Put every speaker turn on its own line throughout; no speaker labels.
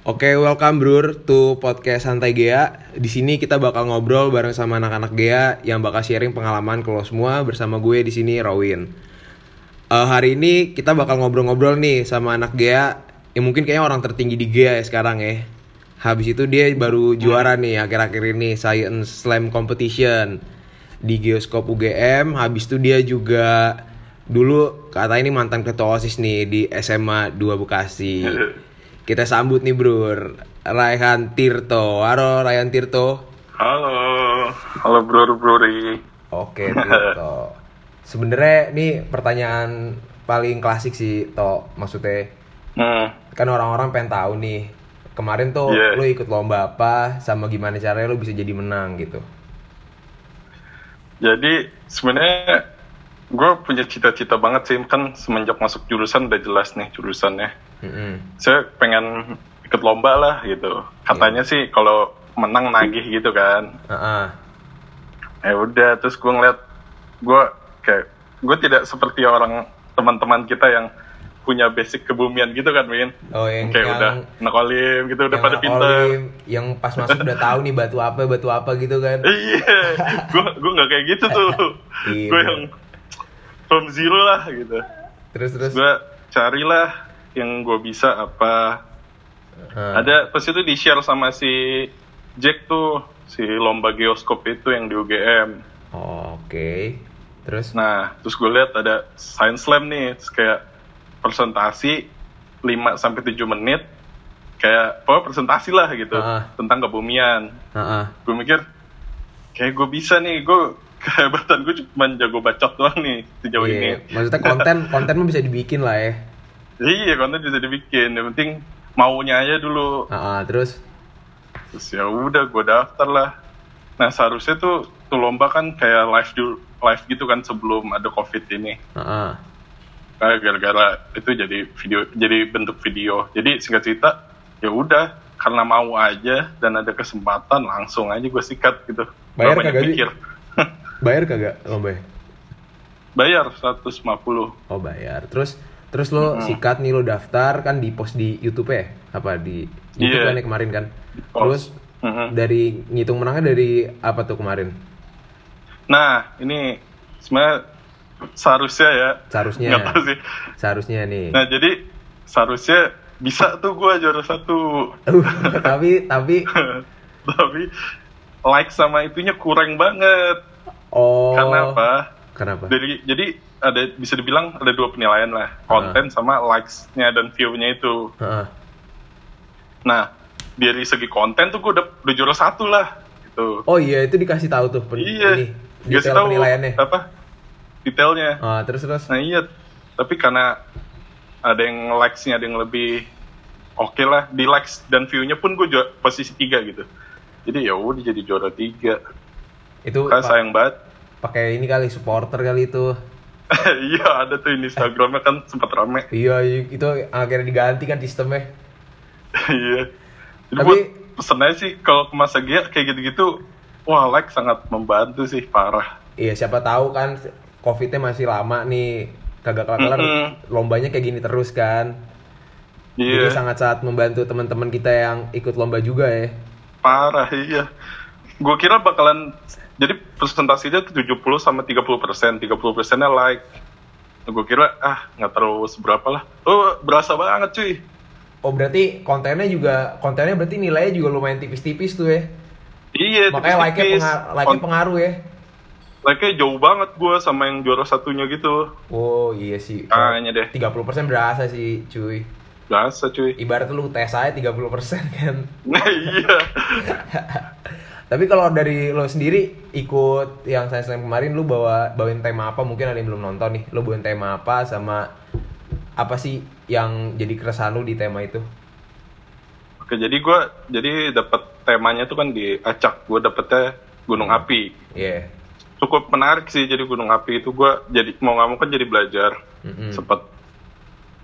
Oke, welcome Brur to podcast Santai Gea. Di sini kita bakal ngobrol bareng sama anak-anak Gea yang bakal sharing pengalaman ke lo semua bersama gue di sini Rowin. Eh, hari ini kita bakal ngobrol-ngobrol nih sama anak Gea yang mungkin kayaknya orang tertinggi di Gea ya sekarang ya. Habis itu dia baru juara nih akhir-akhir ini Science Slam Competition di Geoskop UGM. Habis itu dia juga dulu kata ini mantan ketua OSIS nih di SMA 2 Bekasi. Kita sambut nih bro Raihan Tirto Halo Raihan Tirto
Halo, halo bro brori
Oke Tirto Sebenernya nih pertanyaan paling klasik sih To Maksudnya
Hmm,
kan orang-orang pengen tahu nih Kemarin tuh
Iya.
lu ikut lomba apa Sama gimana caranya lu bisa jadi menang gitu
jadi sebenarnya gue punya cita-cita banget sih kan semenjak masuk jurusan udah jelas nih jurusannya.
Mm-mm.
Saya pengen ikut lomba lah gitu. Katanya
Hmm.
sih kalau menang nagih gitu kan.
Ah-ah.
Ya udah, terus gue ngeliat gue kayak gue tidak seperti orang teman-teman kita yang punya basic kebumian gitu kan, Win.
Oh yang,
Kayak
yang
udah nakolim gitu udah
yang
pada
anak
pinter.
olim, Yang pas masuk udah tahu nih batu apa batu apa gitu kan
Iya, gue gue nggak kayak gitu tuh.
Iya,
gue
bener.
yang from zero lah gitu.
Terus terus
Gue carilah yang gue bisa apa.
Ah.
Ada pas itu di share sama si Jack tuh si lomba geoskop itu yang di UGM.
Oke Terus
Nah, terus gue lihat ada science slam nih, terus kayak presentasi 5 sampai 7 menit kayak pokoknya presentasi lah gitu
Ah.
tentang kebumian.
Ah-ah.
gue mikir kayak gue bisa nih gue kehebatan gue cuma jago bacot doang nih sejauh
Iya,
ini
Maksudnya konten konten mah bisa dibikin lah ya.
iya konten bisa dibikin yang penting maunya aja dulu
Ah, ah, terus
terus ya udah gue daftar lah nah seharusnya tuh tuh lomba kan kayak live dulu live gitu kan sebelum ada covid ini
ah, ah.
Nah, gara-gara itu jadi video jadi bentuk video jadi singkat cerita ya udah karena mau aja dan ada kesempatan langsung aja gue sikat gitu
Bayar
Gak banyak
kagak sih?
mikir.
bayar kagak lomba? ya?
bayar 150
Oh bayar. Terus terus lo
Hmm.
sikat nih lo daftar kan di post di YouTube ya? Apa di YouTube kan
Iya.
ya kemarin kan?
post.
Terus
Mhm.
dari ngitung menangnya dari apa tuh kemarin?
Nah, ini sebenarnya seharusnya ya.
Seharusnya.
Nggak tahu sih.
Seharusnya nih.
Nah, jadi seharusnya bisa tuh gua juara satu.
Uh, tapi tapi
Tapi like sama itunya kurang banget.
oh
Karena apa?
Kenapa?
Dari, jadi ada bisa dibilang ada dua penilaian lah. Konten sama likes-nya dan view-nya itu.
Ah, ah.
Nah, dari segi konten tuh gue udah, udah juara satu lah. Gitu.
Oh iya itu dikasih tahu tuh pen- ini
iya. Dikasih
detail
tahu
penilaiannya.
apa? Detailnya.
Ah, terus terus.
Nah iya, tapi karena ada yang likes-nya ada yang lebih oke lah di likes dan view-nya pun gue juara posisi tiga gitu. Jadi ya udah jadi juara tiga.
Itu
Kan
pa-
sayang banget.
pakai ini kali supporter kali itu.
iya ada tuh ini Instagramnya kan sempat rame.
Iya, itu akhirnya diganti kan sistemnya.
iya. Jadi
Tapi-
buat pesen aja sih kalau ke Mas Gia kayak gitu-gitu, wah like sangat membantu sih parah.
Iya, siapa tahu kan COVID-nya masih lama nih. Kagak kelar-kelar
Mm-mm.
lombanya kayak gini terus kan. Jadi
Iya
sangat sangat membantu teman-teman kita yang ikut lomba juga ya.
parah iya. Gue kira bakalan jadi presentasinya tuh 70 sama 30 persen, 30 persennya like, gue kira ah nggak terlalu seberapa lah oh berasa banget cuy
Oh, berarti kontennya juga kontennya berarti nilainya juga lumayan tipis-tipis tuh ya.
iya
Makanya like-nya
tipis-tipis.
penga- like-nya
Kon-
pengaruh ya.
like-nya jauh banget gue sama yang juara satunya gitu
Oh, iya sih.
Kayaknya deh.
30% berasa sih, cuy.
berasa cuy
Ibarat lu tes aja 30% kan.
nah iya
Tapi kalau dari lo sendiri ikut yang Science Slam kemarin lu bawa bawain tema apa? Mungkin ada yang belum nonton nih. Lu bawain tema apa sama apa sih yang jadi keresahan lu di tema itu?
oke jadi gue jadi dapat temanya tuh kan di acak gue dapetnya gunung api
Iya.
cukup menarik sih jadi gunung api itu gue jadi mau nggak mau kan jadi belajar
Mm-mm.
sempet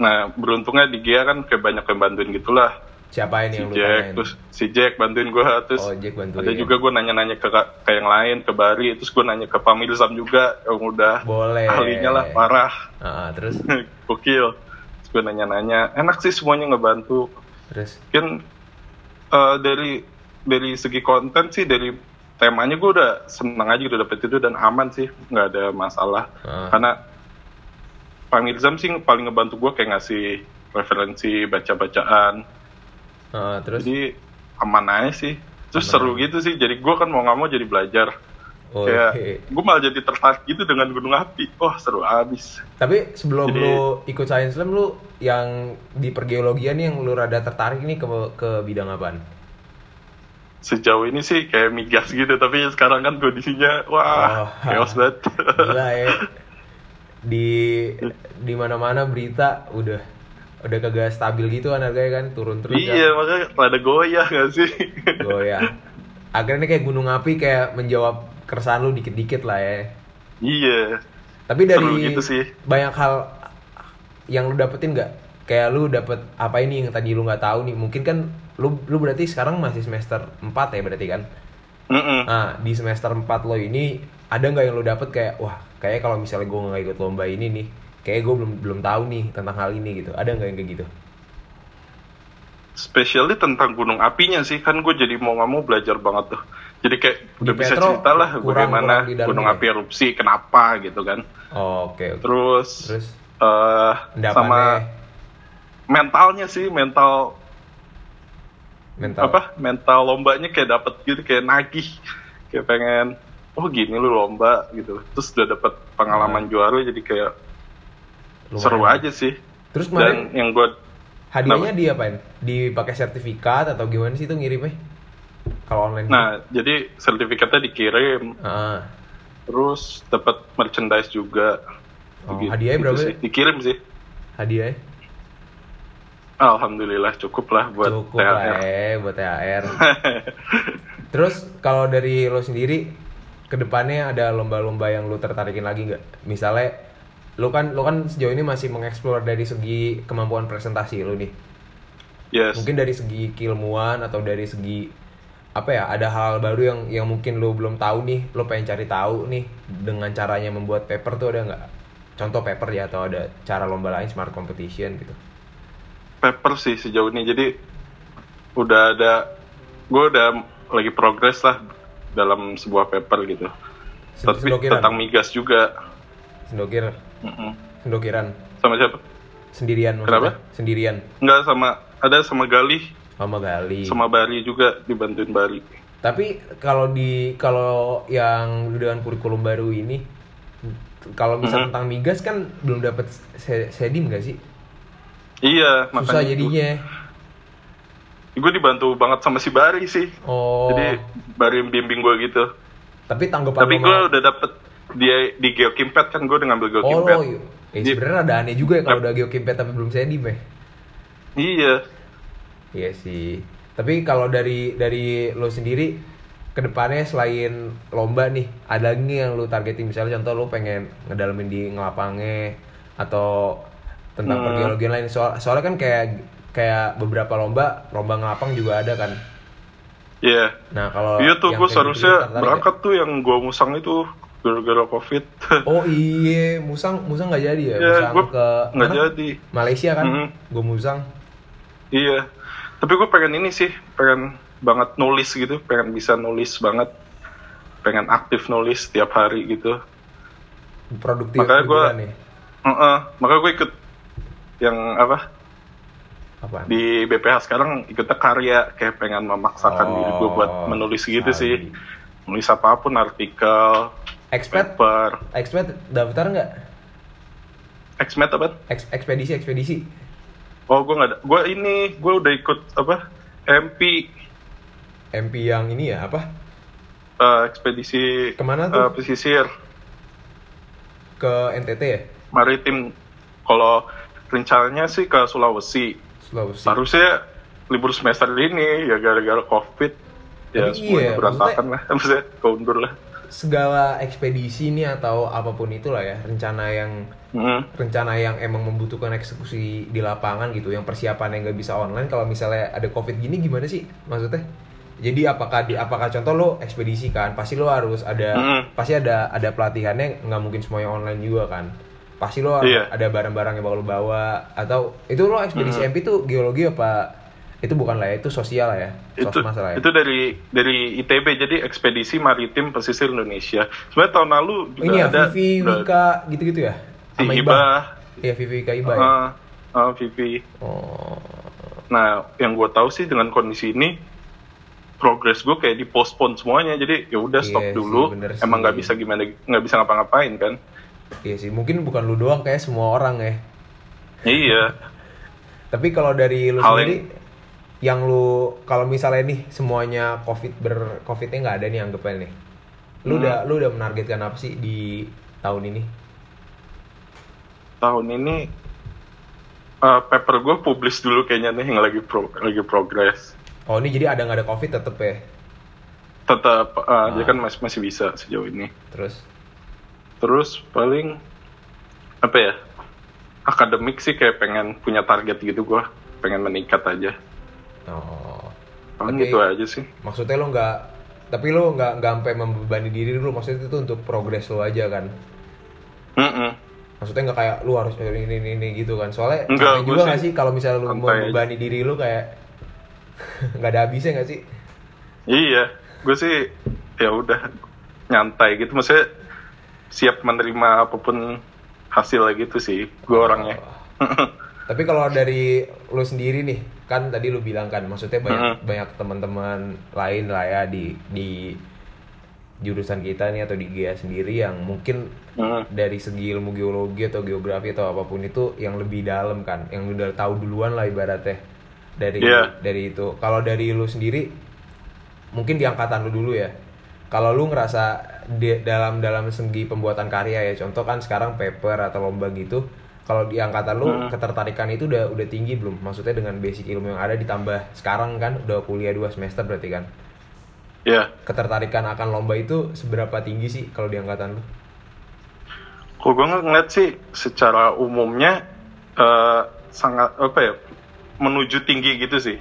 nah beruntungnya di GIA kan kayak banyak yang bantuin gitulah
Siapa ini yang lu
Jack
tanyain?
terus si Jack bantuin gue terus
Oh, Jack bantuin.
ada juga gue nanya-nanya ke, ke yang lain ke Bari terus gue nanya ke Pamil Sam juga yang udah
Boleh.
ahlinya lah parah
Ah, ah, terus
gokil terus gue nanya-nanya enak sih semuanya ngebantu
terus
mungkin eh, dari dari segi konten sih dari temanya gue udah seneng aja udah dapet itu dan aman sih nggak ada masalah
Ah.
karena Pak Mirzam sih paling ngebantu gue kayak ngasih referensi baca-bacaan
Ah, terus
jadi aman aja sih terus seru gitu sih jadi gue kan mau nggak mau jadi belajar
oh,
kayak
iya.
gue malah jadi tertarik gitu dengan gunung api wah seru abis
Tapi sebelum
Jadi-
lu ikut Science Slam, lu yang di pergeologian nih yang lu rada tertarik nih ke ke bidang apaan?
sejauh ini sih kayak migas gitu tapi sekarang kan kondisinya wah
Oh.
chaos banget
Gila ya. Di di mana-mana berita udah udah kagak stabil gitu kan harganya kan turun terus
iya makanya rada goyah gak sih
kan. Goyah. Akhirnya ini kayak gunung api kayak menjawab keresahan lu dikit-dikit lah ya.
iya
Tapi dari
Seru gitu sih.
banyak hal yang lu dapetin nggak? Kayak lu dapet apa ini yang tadi lu nggak tahu nih? Mungkin kan lu lu berarti sekarang masih semester 4 ya berarti kan?
Mm-mm.
Nah, di semester 4 lo ini ada nggak yang lo dapet kayak wah, kayaknya kalau misalnya gue nggak ikut lomba ini nih, kayak gue belum belum tahu nih tentang hal ini gitu. Ada nggak yang kayak gitu?
Especially tentang gunung apinya sih kan gue jadi mau nggak mau belajar banget tuh jadi kayak udah bisa
Petro,
cerita lah
kurang-
bagaimana
kurang di dalam
gunung
ya?
api erupsi kenapa gitu kan
Oke, oke.
terus
Terus
eh, sama
endapannya
mentalnya sih mental
mental.
apa mental lombanya kayak dapet gitu kayak nagih kayak pengen oh gini lu lomba gitu terus udah dapet pengalaman juara jadi kayak
Nah. Lumayan.
seru aja sih
Terus
dan
kemarin Hmm.
yang gue
hadiahnya diapain? Dipakai sertifikat atau gimana sih itu ngirimnya? Kalau online.
nah jadi sertifikatnya dikirim
Ah.
terus dapat merchandise juga
Oh,
Gitu-
hadiahnya
gitu
berapa?
sih. dikirim sih
Hadiahnya
alhamdulillah cukup lah buat
cukup
THR
lah eh buat THR. Terus kalau dari lo sendiri kedepannya ada lomba-lomba yang lo tertarikin lagi nggak? Misalnya lo kan lo kan sejauh ini masih mengeksplor dari segi kemampuan presentasi lo nih.
yes
Mungkin dari segi keilmuan atau dari segi apa ya ada hal baru yang yang mungkin lo belum tahu nih lo pengen cari tahu nih dengan caranya membuat paper tuh ada nggak contoh paper ya atau ada cara lomba lain smart competition gitu
paper sih sejauh ini jadi udah ada gue udah lagi progres lah dalam sebuah paper gitu
Sen-
tapi tentang migas juga
sendokir
Mm-mm.
sendokiran
sama siapa
sendirian
Kenapa?
maksudnya. sendirian
nggak sama ada sama Galih
sama Gali
sama Bari juga dibantuin Bari
Tapi kalau di kalau yang dengan kurikulum baru ini kalau misal tentang migas kan belum dapat se- sedim gak sih?
iya
Susah
makanya
jadinya.
gue dibantu banget sama si Bari sih
Oh.
jadi Bari yang bimbing gue gitu
tapi tanggapan
tapi
lo
gue
sama-
udah dapet dia di Geokimpet kan gue udah ngambil
Oh,
Geokimpet
lo- eh, sebenarnya ada aneh juga ya kalau udah geokimpet tapi belum sedim ya.
iya
Iya sih. Tapi kalau dari dari lo sendiri kedepannya selain lomba nih, ada lagi nggak yang lo targetin misalnya contoh lo pengen ngedalamin di ngelapangnya atau tentang
Hmm.
pergeologian lain. Soal, soalnya kan kayak kayak beberapa lomba lomba ngelapang juga ada kan.
iya
Nah kalau
iya
yang kayak ya,
tuh gue
gitu-gitu
seharusnya
tertarik
berangkat tuh yang gue musang itu gara-gara covid
nggak? Oh iya, musang musang nggak jadi ya,
Iya,
musang
gua
ke
nggak
mana?
jadi
Malaysia kan,
Mhm.
gue musang.
iya tapi gue pengen ini sih pengen banget nulis gitu pengen bisa nulis banget pengen aktif nulis tiap hari gitu
Produktif
Makanya gua-
liburan nih.
Heeh, makanya gue ikut yang apa
Apa?
di BPH sekarang ikutnya karya kayak pengen memaksakan diri gue buat
Oh,
menulis gitu
sabi.
sih nulis apapun artikel
Expert
paper
Exped daftar nggak?
Xmet apa
Eks- ekspedisi ekspedisi.
oh gue nggak ada gue ini gue udah ikut apa MP
MP yang ini ya apa?
eh, ekspedisi
Kemana
eh,
tuh?
pesisir
Ke NTT ya?
maritim kalau rencananya sih ke Sulawesi
Sulawesi.
harusnya libur semester ini ya gara-gara covid ya
Tapi
semuanya
iya,
berantakan lah maksudnya keundur lah
Segala ekspedisi ini atau apapun itulah ya rencana yang
Mm.
rencana yang emang membutuhkan eksekusi di lapangan gitu, yang persiapan yang nggak bisa online kalau misalnya ada covid gini gimana sih maksudnya? Jadi apakah di apakah contoh lo ekspedisi kan pasti lo harus ada
Mm-mm.
pasti ada ada pelatihannya nggak mungkin semuanya online juga kan pasti lo
Iya.
ada barang-barang yang bakal lo bawa atau itu lo ekspedisi MP tuh geologi apa itu bukan lah ya, itu sosial lah ya
itu
sosmas lah ya
itu dari dari ITB jadi ekspedisi maritim pesisir Indonesia sebenarnya tahun lalu
Oh,
juga
ini ya
ada
Vivi
udah-
Wika gitu-gitu ya
si
sama
Hiba
Iba iya Vivi Wika Iba ya
ah, ah, Vivi
oh
nah yang gue tahu sih dengan kondisi ini progres gue kayak dipospon semuanya jadi ya udah stop
Iya sih,
dulu
bener
emang
sih.
nggak bisa gimana nggak bisa ngapa-ngapain kan
iya sih mungkin bukan lu doang kayak semua orang ya
iya
Tapi kalau dari lu
Hal
sendiri yang lu kalau misalnya nih semuanya covid ber covidnya nggak ada nih anggapannya nih. Lu udah lu udah menargetkan apa sih di tahun ini?
tahun ini eh, paper gue publish dulu kayaknya nih yang lagi pro, lagi progres
Oh ini jadi ada nggak ada covid tetep ya?
tetap eh,
Ah.
dia kan masih masih bisa sejauh ini
Terus
terus paling apa ya akademik sih kayak pengen punya target gitu gua pengen meningkat aja
oh
paling
Tapi-
gitu aja sih
maksudnya lu nggak tapi lu nggak nggak sampai membebani diri lu maksudnya itu untuk progres lu aja kan?
Mm-mm.
Maksudnya nggak kayak lu harus ini ini, ini gitu kan? Soalnya
Nggak,
capek
gua
juga
sih
nggak sih kalau misalnya lu
santai aja.
membebani diri lu kayak nggak ada habisnya nggak sih?
iya gue sih ya udah nyantai gitu maksudnya siap menerima apapun hasilnya gitu sih gue orangnya
Tapi kalau dari lu sendiri nih, kan tadi lu bilang kan, maksudnya banyak
Mm-hmm.
banyak teman-teman lain lah ya di di jurusan kita nih atau di GIA sendiri yang mungkin
Mm.
dari segi ilmu geologi atau geografi atau apapun itu yang lebih dalam kan, yang udah tahu duluan lah ibaratnya dari
Iya.
dari itu. Kalau dari lu sendiri, mungkin di angkatan lu dulu ya. Kalau lu ngerasa di- dalam dalam segi pembuatan karya ya, contoh kan sekarang paper atau lomba gitu, kalau di angkatan lu ketertarikan itu udah udah tinggi belum? Maksudnya dengan basic ilmu yang ada ditambah sekarang kan udah kuliah dua semester berarti kan.
ya
Ketertarikan akan lomba itu seberapa tinggi sih kalau di angkatan lu?
kalau gue ngeliat sih secara umumnya eh, sangat apa ya menuju tinggi gitu sih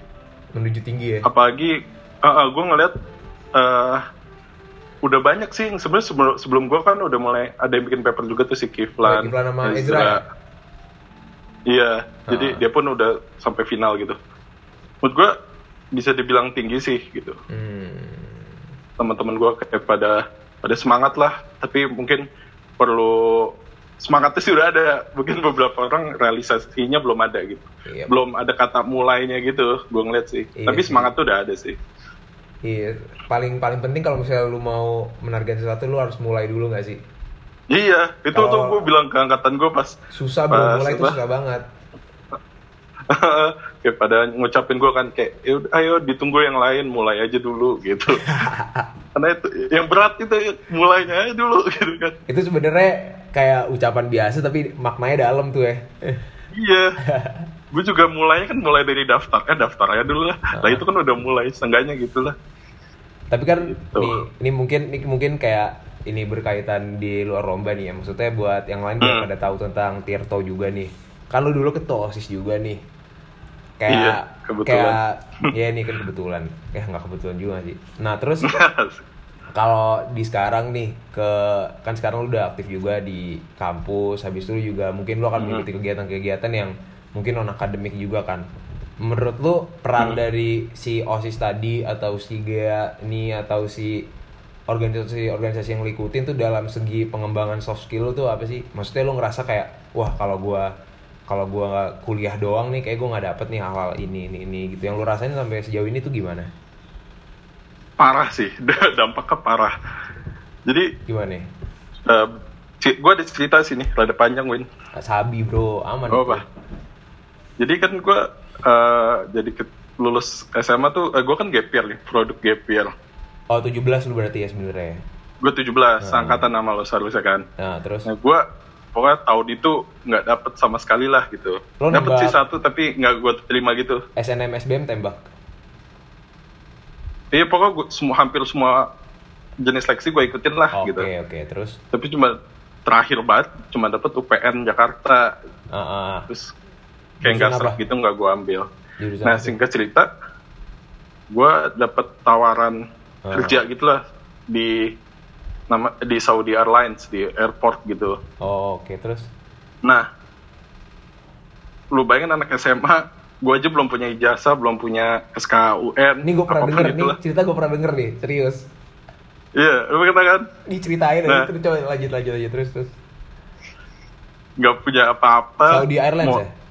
Menuju tinggi ya.
apalagi gue ngeliat eh, udah banyak sih yang sebenarnya sebelum sebelum gue kan udah mulai ada yang bikin paper juga tuh
Oh,
si Kiflan,
Kiflan sama Ezra Ah. ya?
Iya, jadi dia pun udah sampai final gitu. Menurut gue bisa dibilang tinggi sih gitu.
Hmm.
Teman-teman gue kayak pada pada semangat lah, tapi mungkin perlu semangatnya sih udah ada, mungkin beberapa orang realisasinya belum ada gitu.
Iya.
Belum ada kata mulainya gitu, gue ngeliat sih.
Iya
tapi
sih.
semangat tuh udah ada sih.
Iya, paling paling penting kalau misalnya lu mau menargetkan sesuatu lu harus mulai dulu nggak sih?
Iya, itu tuh
Kalau-
gue bilang ke angkatan gue pas
Susah belum
Pas,
mulai itu
apa?
susah banget.
kayak pada ngucapin gue kan kayak "Yaudah, ayo ditunggu yang lain mulai aja dulu gitu. Karena itu yang berat itu ya, mulainya aja dulu gitu kan.
Itu sebenarnya kayak ucapan biasa tapi maknanya dalam tuh ya.
Iya. gue juga mulainya kan mulai dari daftar, eh daftar aja dulu lah. Nah itu kan udah mulai seenggaknya gitu lah.
tapi kan
Gitu.
ini, ini mungkin ini mungkin kayak ini berkaitan di luar lomba nih ya. Maksudnya buat yang lain biar
Hmm.
pada tahu tentang Tirto juga nih. Kan lu dulu ketua OSIS juga nih. Kayak
Iya, kebetulan.
kayak ya ini kan kebetulan. Ya nggak kebetulan juga sih. Nah, terus kalau di sekarang nih ke kan sekarang lu udah aktif juga di kampus habis itu lu juga mungkin lu akan mengikuti kegiatan-kegiatan yang mungkin non akademik juga kan menurut lu peran dari si osis tadi atau si GEA ini atau si organisasi-organisasi yang lu ikutin tuh dalam segi pengembangan soft skill lu tuh apa sih maksudnya lu ngerasa kayak wah kalau gua kalau gua nggak kuliah doang nih kayak gua nggak dapet nih hal-hal ini ini ini gitu yang lu rasain sampai sejauh ini tuh gimana
parah sih, dampaknya parah. Jadi
gimana ya?
gue ada cerita sih nih, rada panjang Win.
sabi bro aman
Oh,
itu.
apa? Jadi kan gue jadi ke- lulus SMA tuh, gue kan gap year nih, produk gap year.
Oh 17 lu berarti ya sebenarnya. ya?
Gue 17,
Hmm.
angkatan nama lo seharusnya kan.
Nah terus
Nah gue pokoknya tahun itu nggak dapet sama sekali lah gitu.
Lo
Dapet
nembak-
sih satu tapi nggak gue terima gitu.
SNM SBM tembak.
Iya pokoknya gua, semua hampir semua jenis seleksi gue ikutin lah
Oke
gitu.
oke terus.
Tapi cuma terakhir banget cuma dapet UPN Jakarta
Ah, ah, ah.
terus kayak
Jurusan
nggak
apa?
serak gitu nggak gue ambil.
Jurusan
Nah
apa?
singkat cerita, gue dapet tawaran
Ah.
kerja gitulah di nama di Saudi Airlines di airport gitu.
Oh, oke terus.
Nah, lu bayangin anak SMA gue aja belum punya ijazah belum punya SKUN
Ini gue pernah
apapun
denger nih,
itulah.
cerita gue pernah denger nih, serius.
iya lu kata kan
Diceritain
Nah.
aja, terus coba lanjut lanjut lanjut terus terus.
nggak punya apa-apa
Saudi Airlines
Ah, Mau-
ya? Ah.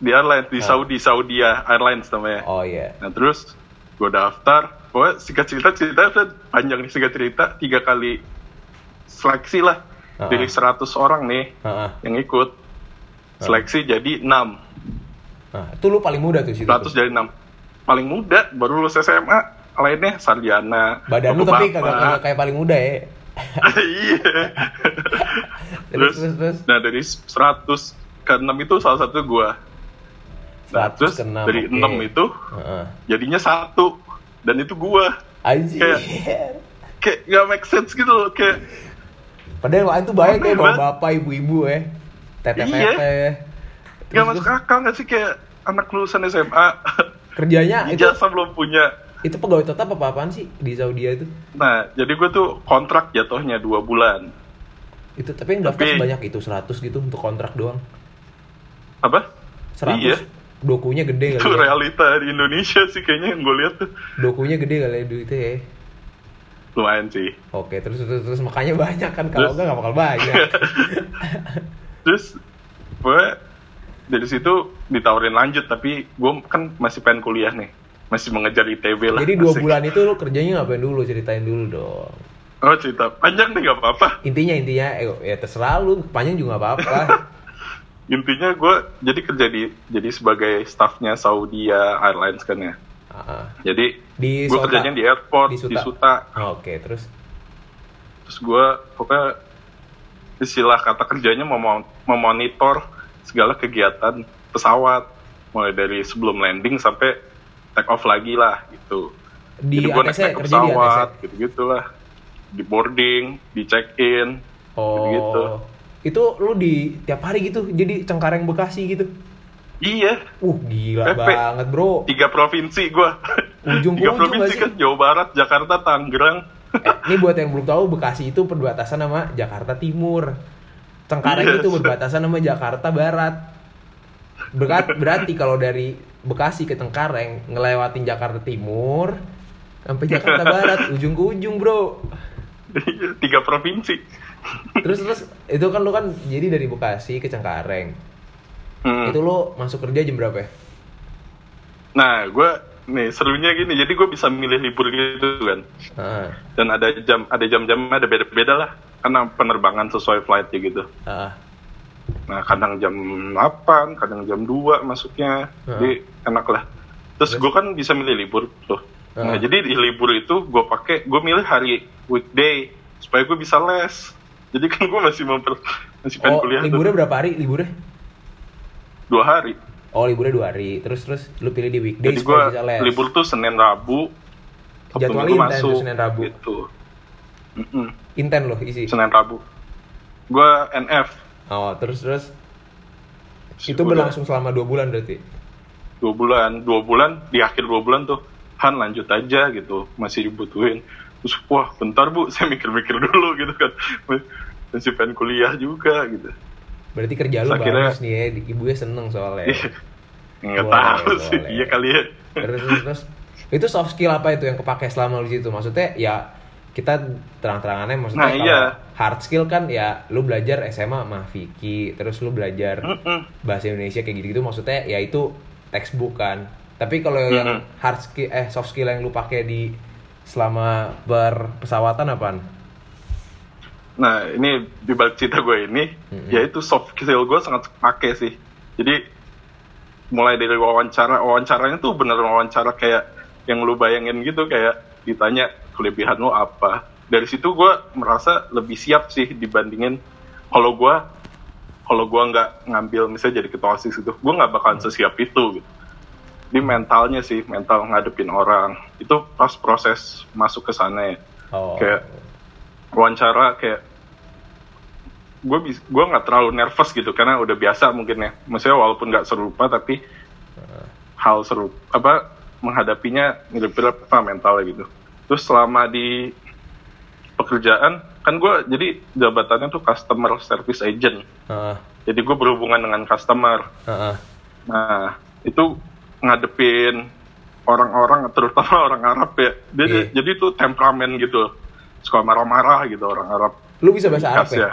di airline di Saudi Saudi ya, Airlines namanya
Oh iya.
Nah terus gue daftar, pokoknya singkat cerita cerita itu panjang nih singkat cerita tiga kali seleksi lah
Heeh.
dari 100 orang nih
Heeh.
yang ikut
Ah.
seleksi jadi 6
Nah, itu lu paling muda tuh situ.
100
tuh.
jadi 6 paling muda baru lulus SMA lainnya sarjana
Badan lu tapi kagak
bapak-bapak.
kagak kayak paling muda ya.
iya
Terus
terus,
terus terus.
nah dari 100 ke 6 itu salah satu gue nah
100
terus
ke enam,
dari
oke. Ah,
6 itu
Heeh.
jadinya satu dan itu gue
Anjir.
Iya. kayak gak make sense gitu loh kayak
Padahal yang lain tuh banyak
Aneh
kayak bapak
banget.
bapak ibu-ibu ya.
Iya.
Tete-tete.
gak
Terus,
masuk
terus
akal gak sih kayak anak lulusan SMA
kerjanya Nah, itu
ijazah belum punya
itu pegawai tetap apa apaan sih di Saudi itu?
nah jadi gue tuh kontrak jatuhnya dua bulan
Itu tapi yang daftar
Tapi-
sebanyak itu 100 gitu untuk kontrak doang.
apa
100.
iya
Dokunya gede
itu
kali. Ya.
realita di Indonesia sih kayaknya yang gue lihat tuh
Dokunya gede kali ya duitnya ya.
lumayan sih
Oke, terus terus, terus makanya banyak kan kalau
Terus.
enggak nggak bakal banyak.
terus gue dari situ ditawarin lanjut tapi gue kan masih pengen kuliah nih masih mengejar ITB lah
Jadi dua
asik.
bulan itu lu kerjanya ngapain dulu? Ceritain dulu dong.
oh cerita panjang nih gak apa-apa
Intinya intinya eh, ya terserah lu, panjang juga nggak apa-apa.
intinya gue jadi kerja di jadi sebagai staffnya Saudi Airlines kan ya
Ah, ah.
Jadi
Di
gue
Sota.
kerjanya di airport,
Di
di
Suta.
Suta.
Oke, terus
Terus gue pokoknya istilah kata kerjanya memo- memonitor segala kegiatan pesawat. Mulai dari sebelum landing sampai take off lagi lah gitu.
di
Jadi gue
ATC
naik-naik ke
kerja di ATC.
pesawat gitu-gitulah. Di boarding, di check-in.
Oh.
gitu.
Itu lu di tiap hari gitu. Jadi Cengkareng Bekasi gitu.
Iya,
Uh, gila
Pepe.
banget, Bro.
tiga provinsi gue.
Ujung ke
tiga
ujung
provinsi
nggak sih?
kan Jawa Barat, Jakarta, Tangerang.
Eh, ini buat yang belum tahu Bekasi itu perbatasan sama Jakarta Timur. Cengkareng
Yes.
itu berbatasan sama Jakarta Barat. Berat, berarti kalau dari Bekasi ke Cengkareng ngelewatin Jakarta Timur sampai Jakarta Barat ujung ke ujung, Bro.
tiga provinsi.
Terus terus itu kan lu kan jadi dari Bekasi ke Cengkareng.
Hmm.
Itu lu masuk kerja jam berapa ya?
Nah, gue nih serunya gini, jadi gue bisa milih libur gitu kan.
Heeh.
Dan ada jam, ada jam-jamnya ada beda-beda lah, karena penerbangan sesuai flightnya gitu.
heeh.
Nah, kadang jam 8, kadang jam 2 masuknya, jadi enak lah. Terus gue kan bisa milih libur tuh. Nah,
Heeh.
jadi di libur itu gue pakai, gue milih hari weekday supaya gue bisa les. Jadi kan gue masih memper, masih
Oh,
pengen Kan kuliah
liburnya
tuh
berapa hari? Liburnya?
dua hari.
Oh, liburnya dua hari. Terus terus lu pilih di weekday
Jadi gue
supaya bisa les.
libur tuh Senin Rabu, Sabtu
Jadwalin
Minggu
kan tuh
masuk.
Senin Rabu.
Gitu. Mm-mm.
Inten loh isi.
Senin Rabu. Gue NF.
Oh, terus terus itu
Udah
berlangsung selama dua bulan berarti.
dua bulan, dua bulan di akhir dua bulan tuh Han lanjut aja gitu, masih dibutuhin. Terus wah bentar bu, saya mikir-mikir dulu gitu kan, masih pengen kuliah juga gitu.
Berarti kerja lu
Terus akhirnya- Iya.
bagus nih ya, di- ibunya seneng soalnya.
Nggak
Boleh,
tahu sih,
boleh.
iya kali ya.
terus, terus terus itu soft skill apa itu yang kepake selama lu di situ? Maksudnya ya kita terang-terangannya maksudnya
Nah,
kalau
iya.
hard skill kan ya lu belajar SMA sama Vicky, terus lu belajar
Mm-mm.
bahasa Indonesia kayak gitu-gitu maksudnya ya itu textbook kan. Tapi kalau yang hard skill eh soft skill yang lu pakai di selama berpesawatan apaan?
Nah ini di balik cerita gue ini, yaitu soft skill gue sangat pakai sih. Jadi mulai dari wawancara, wawancaranya tuh bener wawancara kayak yang lu bayangin gitu kayak ditanya kelebihan lu apa. Dari situ gue merasa lebih siap sih dibandingin kalau gue kalau gue nggak ngambil misalnya jadi ketua osis gitu, gue nggak bakalan sesiap itu. Gitu. Jadi mentalnya sih, mental ngadepin orang itu pas proses masuk ke sana ya
Oh.
Kayak- wawancara kayak gue bis gue nggak terlalu nervous gitu karena udah biasa mungkin ya maksudnya walaupun nggak serupa tapi hal seru apa menghadapinya mirip-mirip apa mentalnya gitu terus selama di pekerjaan kan gue jadi jabatannya tuh customer service agent
Heeh.
jadi gue berhubungan dengan customer
Heeh.
nah itu ngadepin orang-orang terutama orang Arab ya dia,
Iya.
jadi itu temperamen gitu suka marah-marah gitu orang Arab
Lu bisa bahasa Arab
khas
ya?
ya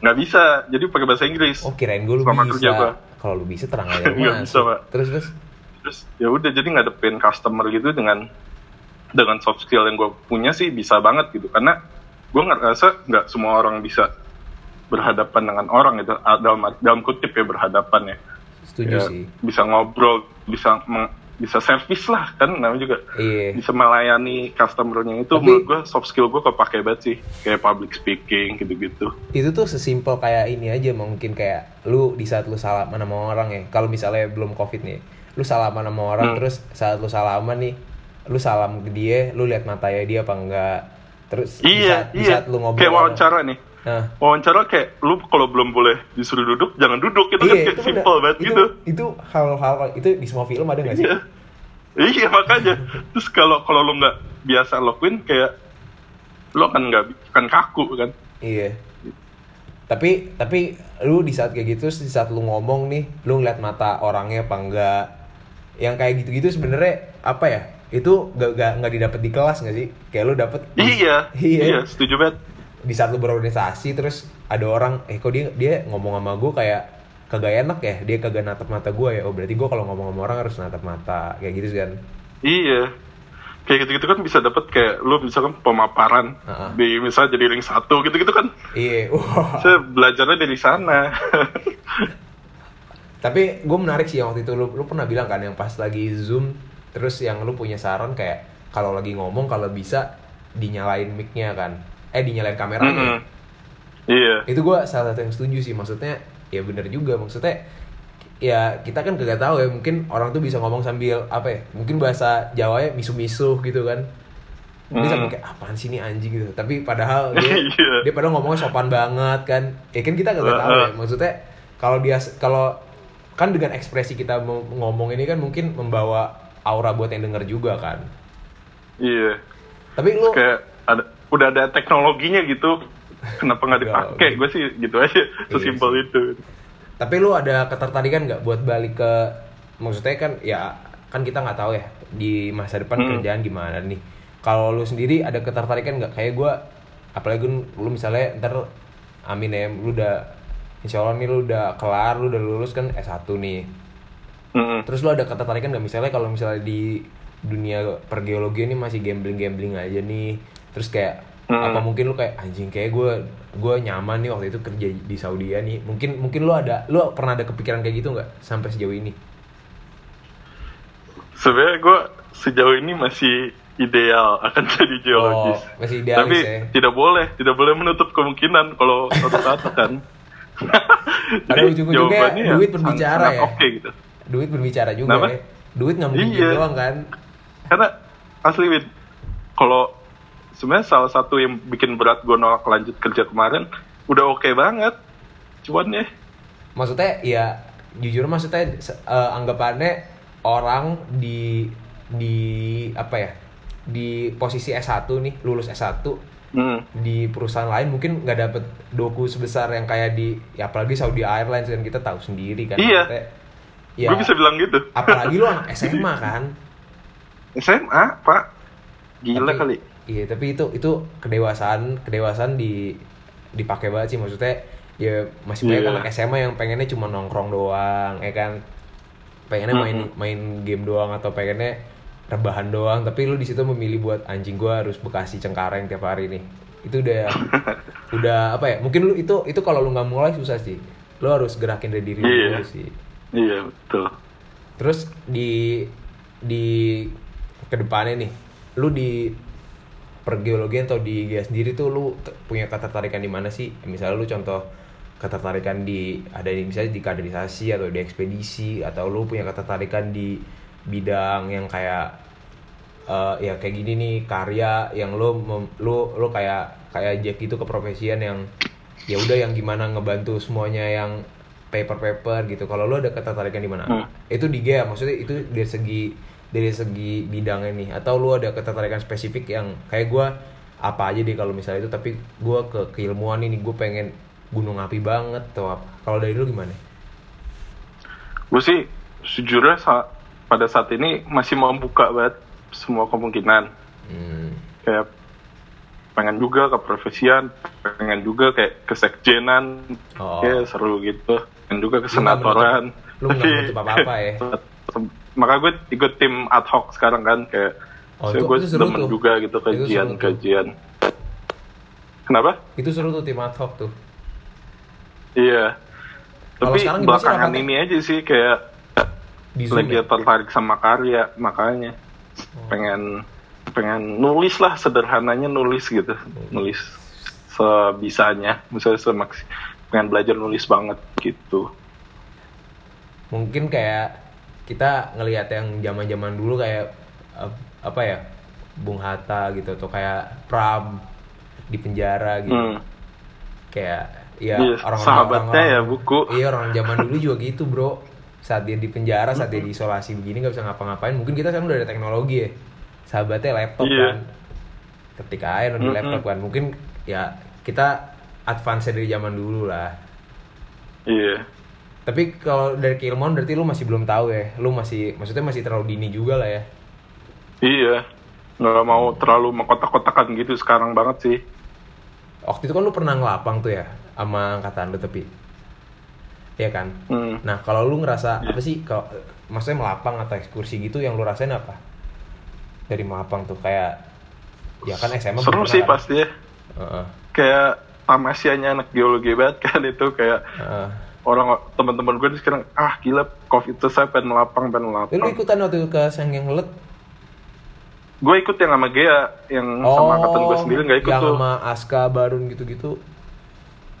nggak bisa jadi pakai bahasa Inggris
Oh kirain gue lu
Selama kerja gua.
bisa. Kalau lu bisa terang aja. lu masuk.
Nggak bisa, Pak.
Terus terus.
terus ya udah jadi ngadepin customer gitu dengan dengan soft skill yang gue punya sih bisa banget gitu karena gue ngerasa nggak semua orang bisa berhadapan dengan orang itu ah, dalam dalam kutip ya berhadapan ya,
Setuju
Ya,
sih.
bisa ngobrol bisa meng- bisa servis lah kan namanya juga
Iya.
bisa melayani customernya itu
Tapi-
menurut gue soft skill gue kepake banget sih kayak public speaking gitu-gitu
itu tuh sesimpel kayak ini aja mungkin kayak lu di saat lu salaman sama orang ya kalau misalnya belum covid nih lu salaman sama orang
Hmm.
terus saat lu salaman nih lu salam ke dia lu lihat matanya dia apa enggak terus di saat,
iya
di
iya
saat lu ngobrol
kayak
sama-
wawancara nih
nah,
wawancara kayak lu kalau belum boleh disuruh duduk jangan duduk itu
iya
kan kayak
itu
simple
bener.
banget
itu,
gitu
itu hal-hal itu di semua film ada nggak sih
Iya. Iya makanya. Terus kalau kalau lo nggak biasa lakuin kayak lo kan nggak kan kaku kan.
Iya. Tapi tapi lu di saat kayak gitu, di saat lu ngomong nih, lu ngeliat mata orangnya apa enggak? Yang kayak gitu-gitu sebenarnya apa ya? Itu gak, gak, nggak didapat di kelas gak sih? Kayak lu dapet di-
Iya,
Iya.
iya, setuju banget.
di saat lu berorganisasi terus ada orang eh kok dia dia ngomong sama gue kayak kagak enak ya dia kagak natap mata gue ya oh berarti gue kalau ngomong sama orang harus natap mata kayak gitu kan
Iya. Kayak gitu-gitu kan bisa dapet kayak lo misalkan pemaparan
Heeh.
di misalnya jadi ring satu gitu-gitu kan.
iya wah.
Saya belajarnya dari sana.
Tapi gue menarik sih yang waktu itu lu, lu pernah bilang kan yang pas lagi zoom terus yang lu punya saran kayak kalau lagi ngomong kalau bisa dinyalain mic-nya kan. Eh dinyalain
Mm-mm.
kameranya.
Iya.
Itu gue salah satu yang setuju sih maksudnya ya bener juga maksudnya ya kita kan kagak tahu ya mungkin orang tuh bisa ngomong sambil apa ya mungkin bahasa Jawa ya misu-misu gitu kan bisa
Hmm.
kayak apaan sih ini anjing gitu tapi padahal dia
Iya.
dia padahal ngomongnya sopan banget kan ya kan kita nggak tahu ya maksudnya kalau dia kalau kan dengan ekspresi kita mau ngomong ini kan mungkin membawa aura buat yang denger juga kan
Iya.
tapi lu
Kayak ada udah ada teknologinya gitu.
Ya,
Kenapa nggak dipakai? Gue sih gitu
Iya,
aja. Sesimpel itu.
tapi lu ada ketertarikan nggak buat balik ke maksudnya kan ya kan kita nggak tahu ya di masa depan kerjaan gimana nih kalau lu sendiri ada ketertarikan nggak kayak gua apalagi lu lu misalnya ntar amin ya lu udah insya Allah nih lu udah kelar lu udah lulus kan S1 nih
Mm-mm.
Terus lo ada ketertarikan nggak misalnya kalau misalnya di dunia pergeologi ini masih gambling-gambling aja nih. Terus kayak
Hmm.
apa mungkin lu kayak anjing kayak gue gue nyaman nih waktu itu kerja di Saudi ya nih. Mungkin mungkin lu ada lu pernah ada kepikiran kayak gitu nggak sampai sejauh ini?
sebenarnya gue sejauh ini masih ideal akan jadi geologis.
Oh, masih idealis
Tapi
ya.
tidak boleh, tidak boleh menutup kemungkinan kalau suatu saat kan.
Pada ujung-ujungnya ya, duit berbicara
sangat
ya.
Oke gitu.
Duit berbicara juga
Kenapa?
ya. Duit nggak mungkin
Iya.
doang kan.
Karena asli Win, kalau sebenarnya salah satu yang bikin berat gue nolak lanjut kerja kemarin udah oke banget. Cuman ya
Maksudnya ya jujur maksudnya se- eh, anggapannya orang di di apa ya di posisi S1 nih lulus S1
hmm,
di perusahaan lain mungkin nggak dapet doku sebesar yang kayak di ya apalagi Saudi Airlines kan kita tahu sendiri kan
Iya.
maksudnya. ya
gue bisa bilang gitu.
apalagi lu anak SMA kan
SMA, Pak. Gila
Tapi-
kali.
iya tapi itu itu kedewasaan kedewasaan di dipakai banget sih maksudnya ya masih banyak
Iya.
anak SMA yang pengennya cuma nongkrong doang ya kan pengennya main main game doang atau pengennya rebahan doang tapi lu di situ memilih buat anjing gua harus bekasi cengkareng tiap hari nih itu udah udah apa ya mungkin lu itu itu kalau lu nggak mulai susah sih lu harus gerakin dari diri lu
Iya.
dulu sih
Iya, betul.
Terus di di kedepannya nih, lu di pergeologian atau di GIA sendiri tuh lu t- punya ketertarikan di mana sih? Misalnya lu contoh ketertarikan di ada di misalnya di kaderisasi atau di ekspedisi atau lu punya ketertarikan di bidang yang kayak eh, ya kayak gini nih karya yang lu mem- lu lu kayak kayak Jack itu keprofesian yang ya udah yang gimana ngebantu semuanya yang paper-paper gitu. Kalau lu ada ketertarikan di mana?
Hmm.
Itu di GIA maksudnya itu dari segi dari segi bidangnya nih atau lu ada ketertarikan spesifik yang kayak gua apa aja deh kalau misalnya itu tapi gua ke keilmuan ini gue pengen gunung api banget atau apa. Kalau dari lu gimana?
gue sih sejujurnya sa- pada saat ini masih mau membuka banget semua kemungkinan
Hmm.
kayak pengen juga ke profesian, pengen juga kayak ke sekjenan,
Oh.
kayak seru gitu, pengen juga
Lu
ke
nggak
senatoran.
menutup- lu nggak
Tapi-
menutup apa-apa ya?
Maka gue ikut tim ad hoc sekarang kan kayak
Oh,
so,
itu-
gue
itu seru
demen
tuh.
juga gitu
Itu seru tuh.
kajian-kajian. Kenapa?
Itu seru tuh tim ad hoc tuh.
Iya.
Kalau
Tapi
sekarang gimana sih
belakangan
rapatnya?
ini aja sih kayak
Di Zoom
lagi
ya? Oh.
tertarik sama karya makanya pengen pengen nulis lah sederhananya nulis gitu nulis sebisanya misalnya semaks pengen belajar nulis banget gitu
Mungkin kayak kita ngelihat yang zaman-zaman dulu kayak eh, apa ya? Bung Hatta gitu atau kayak Pram di penjara gitu.
hmm.
Kayak ya
Iya,
orang-orang
sahabatnya
orang-orang-
ya buku.
Iya, orang zaman dulu juga gitu, Bro. Saat dia di penjara, saat
Hmm.
dia diisolasi begini nggak bisa ngapa-ngapain. Mungkin kita sekarang udah ada teknologi ya. Sahabatnya laptop
Iya. Hmm,
kan. Ketika air di laptop kan. Mungkin ya kita advance dari zaman dulu lah.
iya
Tapi kalau dari keilmuan berarti lu masih belum tahu ya. Lu masih maksudnya masih terlalu dini juga lah ya.
iya nggak mau terlalu mengkotak-kotakan gitu sekarang banget sih
Waktu itu kan lu pernah ngelapang tuh ya sama angkatan lu tapi. Iya kan?
hmm.
Nah, kalau lu ngerasa
Iya.
apa sih kalau maksudnya melapang atau ekskursi gitu yang lu rasain apa? Dari melapang tuh kayak ya kan SMA
seru
belum pernah
sih
kan?
pasti ya
Heeh.
kayak tamasianya anak geologi banget kan itu kayak
heeh.
orang teman-teman gue nih sekarang ah gila covid itu saya pengen melapang pengen
Eh, Lu
melapang
ikutan waktu itu ke Sangyang Let?
gue ikut yang sama Gea yang sama angkatan gue sendiri nggak
Oh,
ikut
yang
tuh
sama Aska Barun gitu-gitu.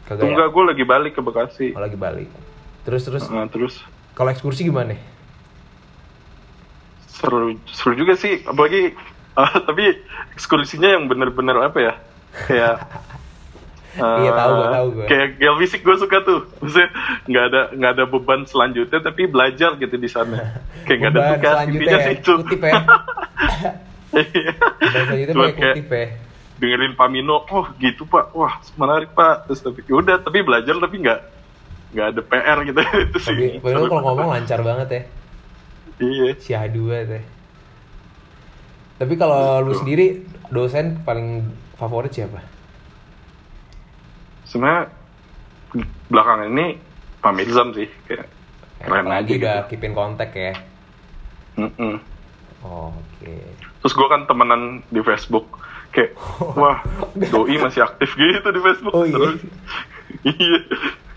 Kagak ya?
enggak gue lagi balik ke Bekasi
Oh, lagi balik. Terus terus
Nah, terus
kalau ekskursi gimana?
seru seru juga sih apalagi eh, tapi ekskursinya yang bener-bener apa ya kayak eh,
Iya, tahu gua, tahu gua.
kayak gel fisik gue suka tuh maksudnya nggak ada nggak ada beban selanjutnya tapi belajar gitu di sana kayak nggak ada
Beban
tugas
selanjutnya
intinya
ya,
sih itu
kutip ya.
Iya.
Beban selanjutnya
Cuman
pakai
kayak
kutip ya.
dengerin Pamino oh gitu pak wah menarik pak terus tapi "Ya udah tapi belajar tapi nggak nggak ada PR gitu itu sih
Tapi padahal kalau ngomong lancar banget ya.
iya
si A2 teh. Tapi kalau lu sendiri dosen paling favorit siapa?
sebenarnya belakangan ini Pamirzam sih kayak keren aja
Apalagi
gitu.
udah keep in contact ya.
Mm-mm.
Oh, Oke.
terus gue kan temenan di Facebook kayak wah doi masih aktif gitu di Facebook
Oh, iya?
Terus- iya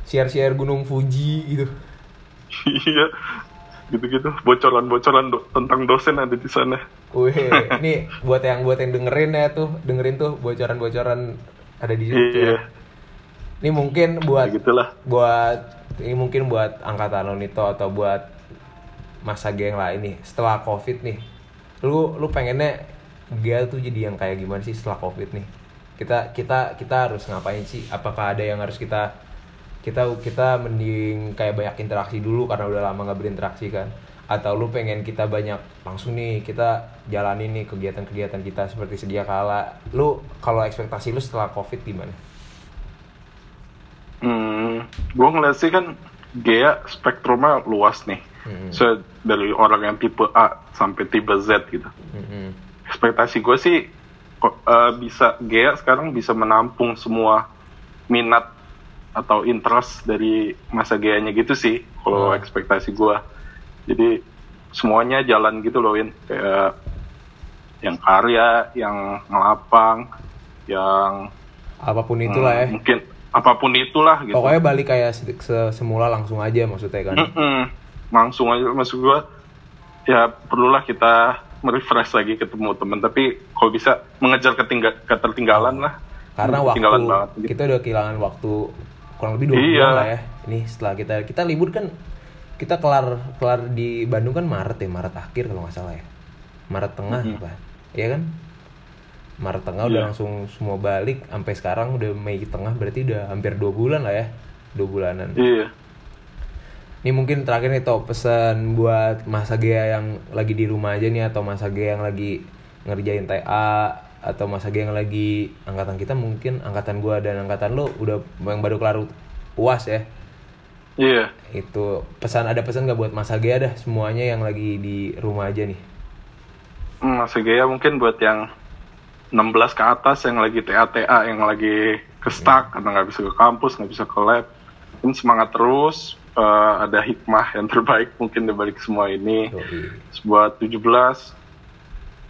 Share-share Gunung Fuji gitu.
iya gitu-gitu bocoran-bocoran do- tentang dosen ada di sana
Wih, ini buat yang buat yang dengerin ya tuh, dengerin tuh bocoran-bocoran ada di situ.
Iya.
ya. Ini mungkin buat
Ya, gitulah
buat ini mungkin buat angkatan lo Nito atau buat masa geng lain nih setelah covid nih lu lu pengennya gel tuh jadi yang kayak gimana sih setelah covid nih kita kita kita harus ngapain sih apakah ada yang harus kita kita kita mending kayak banyak interaksi dulu karena udah lama nggak berinteraksi kan atau lu pengen kita banyak langsung nih kita jalanin nih kegiatan-kegiatan kita seperti sedia kala lu kalau ekspektasi lu setelah covid gimana
Hmm, gue ngeliat sih kan Gea spektrumnya luas nih.
Hmm.
So, dari orang yang tipe A sampai tipe Z gitu.
Mm-mm.
Ekspektasi gue sih ko- eh, bisa Gea sekarang bisa menampung semua minat atau interest dari masa Gea-nya gitu sih. Kalau
Hmm.
ekspektasi gue, jadi semuanya jalan gitu loh, Win. Kayak yang karya, yang ngelapang, yang
apapun itulah ya
hmm, mungkin apapun itulah gitu. Hmm.
Pokoknya balik kayak se- se- semula langsung aja maksudnya kan.
Mm-mm. langsung aja masuk gua ya perlulah kita merefresh lagi ketemu teman tapi kalau bisa mengejar ketingga- ketertinggalan lah
Karena waktu
ketinggalan banget gitu.
kita udah kehilangan waktu kurang lebih dua
Iya.
bulan lah ya. Ini setelah kita kita libur kan kita kelar kelar di Bandung kan Maret ya, Maret akhir kalau nggak salah ya. Maret tengah apa? Iya kan? Maret tengah udah
Hmm. Iya.
langsung semua balik sampai sekarang udah Mei tengah berarti udah hampir dua bulan lah ya. Dua bulanan.
iya
Ini mungkin terakhir nih Tok, pesan buat Mas Agea yang lagi di rumah aja nih atau Mas Agea yang lagi ngerjain TA atau Mas Agea yang lagi angkatan kita mungkin angkatan gua dan angkatan lo udah yang baru kelar UAS ya.
Iya.
Itu pesan ada pesan nggak buat masa Gea dah semuanya yang lagi di rumah aja nih.
Hmm, Mas Gea mungkin buat yang 16 ke atas yang lagi TA-TA, yang lagi
Iya.
ke stuck, karena nggak bisa ke kampus, nggak bisa ke lab. Mungkin semangat terus, eh, ada hikmah yang terbaik mungkin dibalik semua ini.
Yoi.
Buat 17,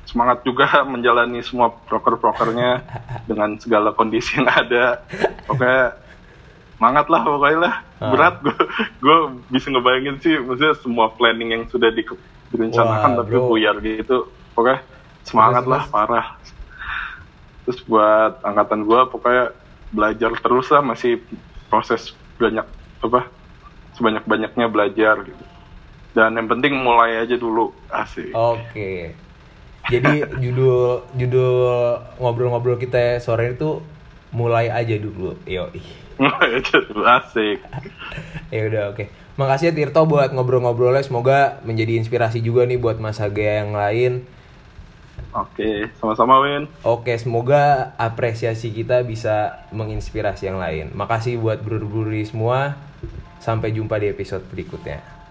semangat juga menjalani semua proker-prokernya dengan segala kondisi yang ada. Pokoknya semangat lah pokoknya lah.
Ah.
Berat gue, gue bisa ngebayangin sih, maksudnya semua planning yang sudah di, direncanakan
Wah,
tapi
bro.
buyar gitu. Pokoknya semangat lah, parah terus buat angkatan gua pokoknya belajar terus lah masih proses banyak apa sebanyak banyaknya belajar gitu dan yang penting mulai aja dulu asik
Oke. Jadi judul judul ngobrol-ngobrol kita sore itu mulai aja dulu. Yoi.
mulai aja dulu asik
ya udah oke. Makasih ya Tirto buat ngobrol-ngobrolnya. Semoga menjadi inspirasi juga nih buat masa Gea yang lain.
oke sama-sama Win
Oke, semoga apresiasi kita bisa menginspirasi yang lain. Makasih buat buru-buru semua. Sampai jumpa di episode berikutnya.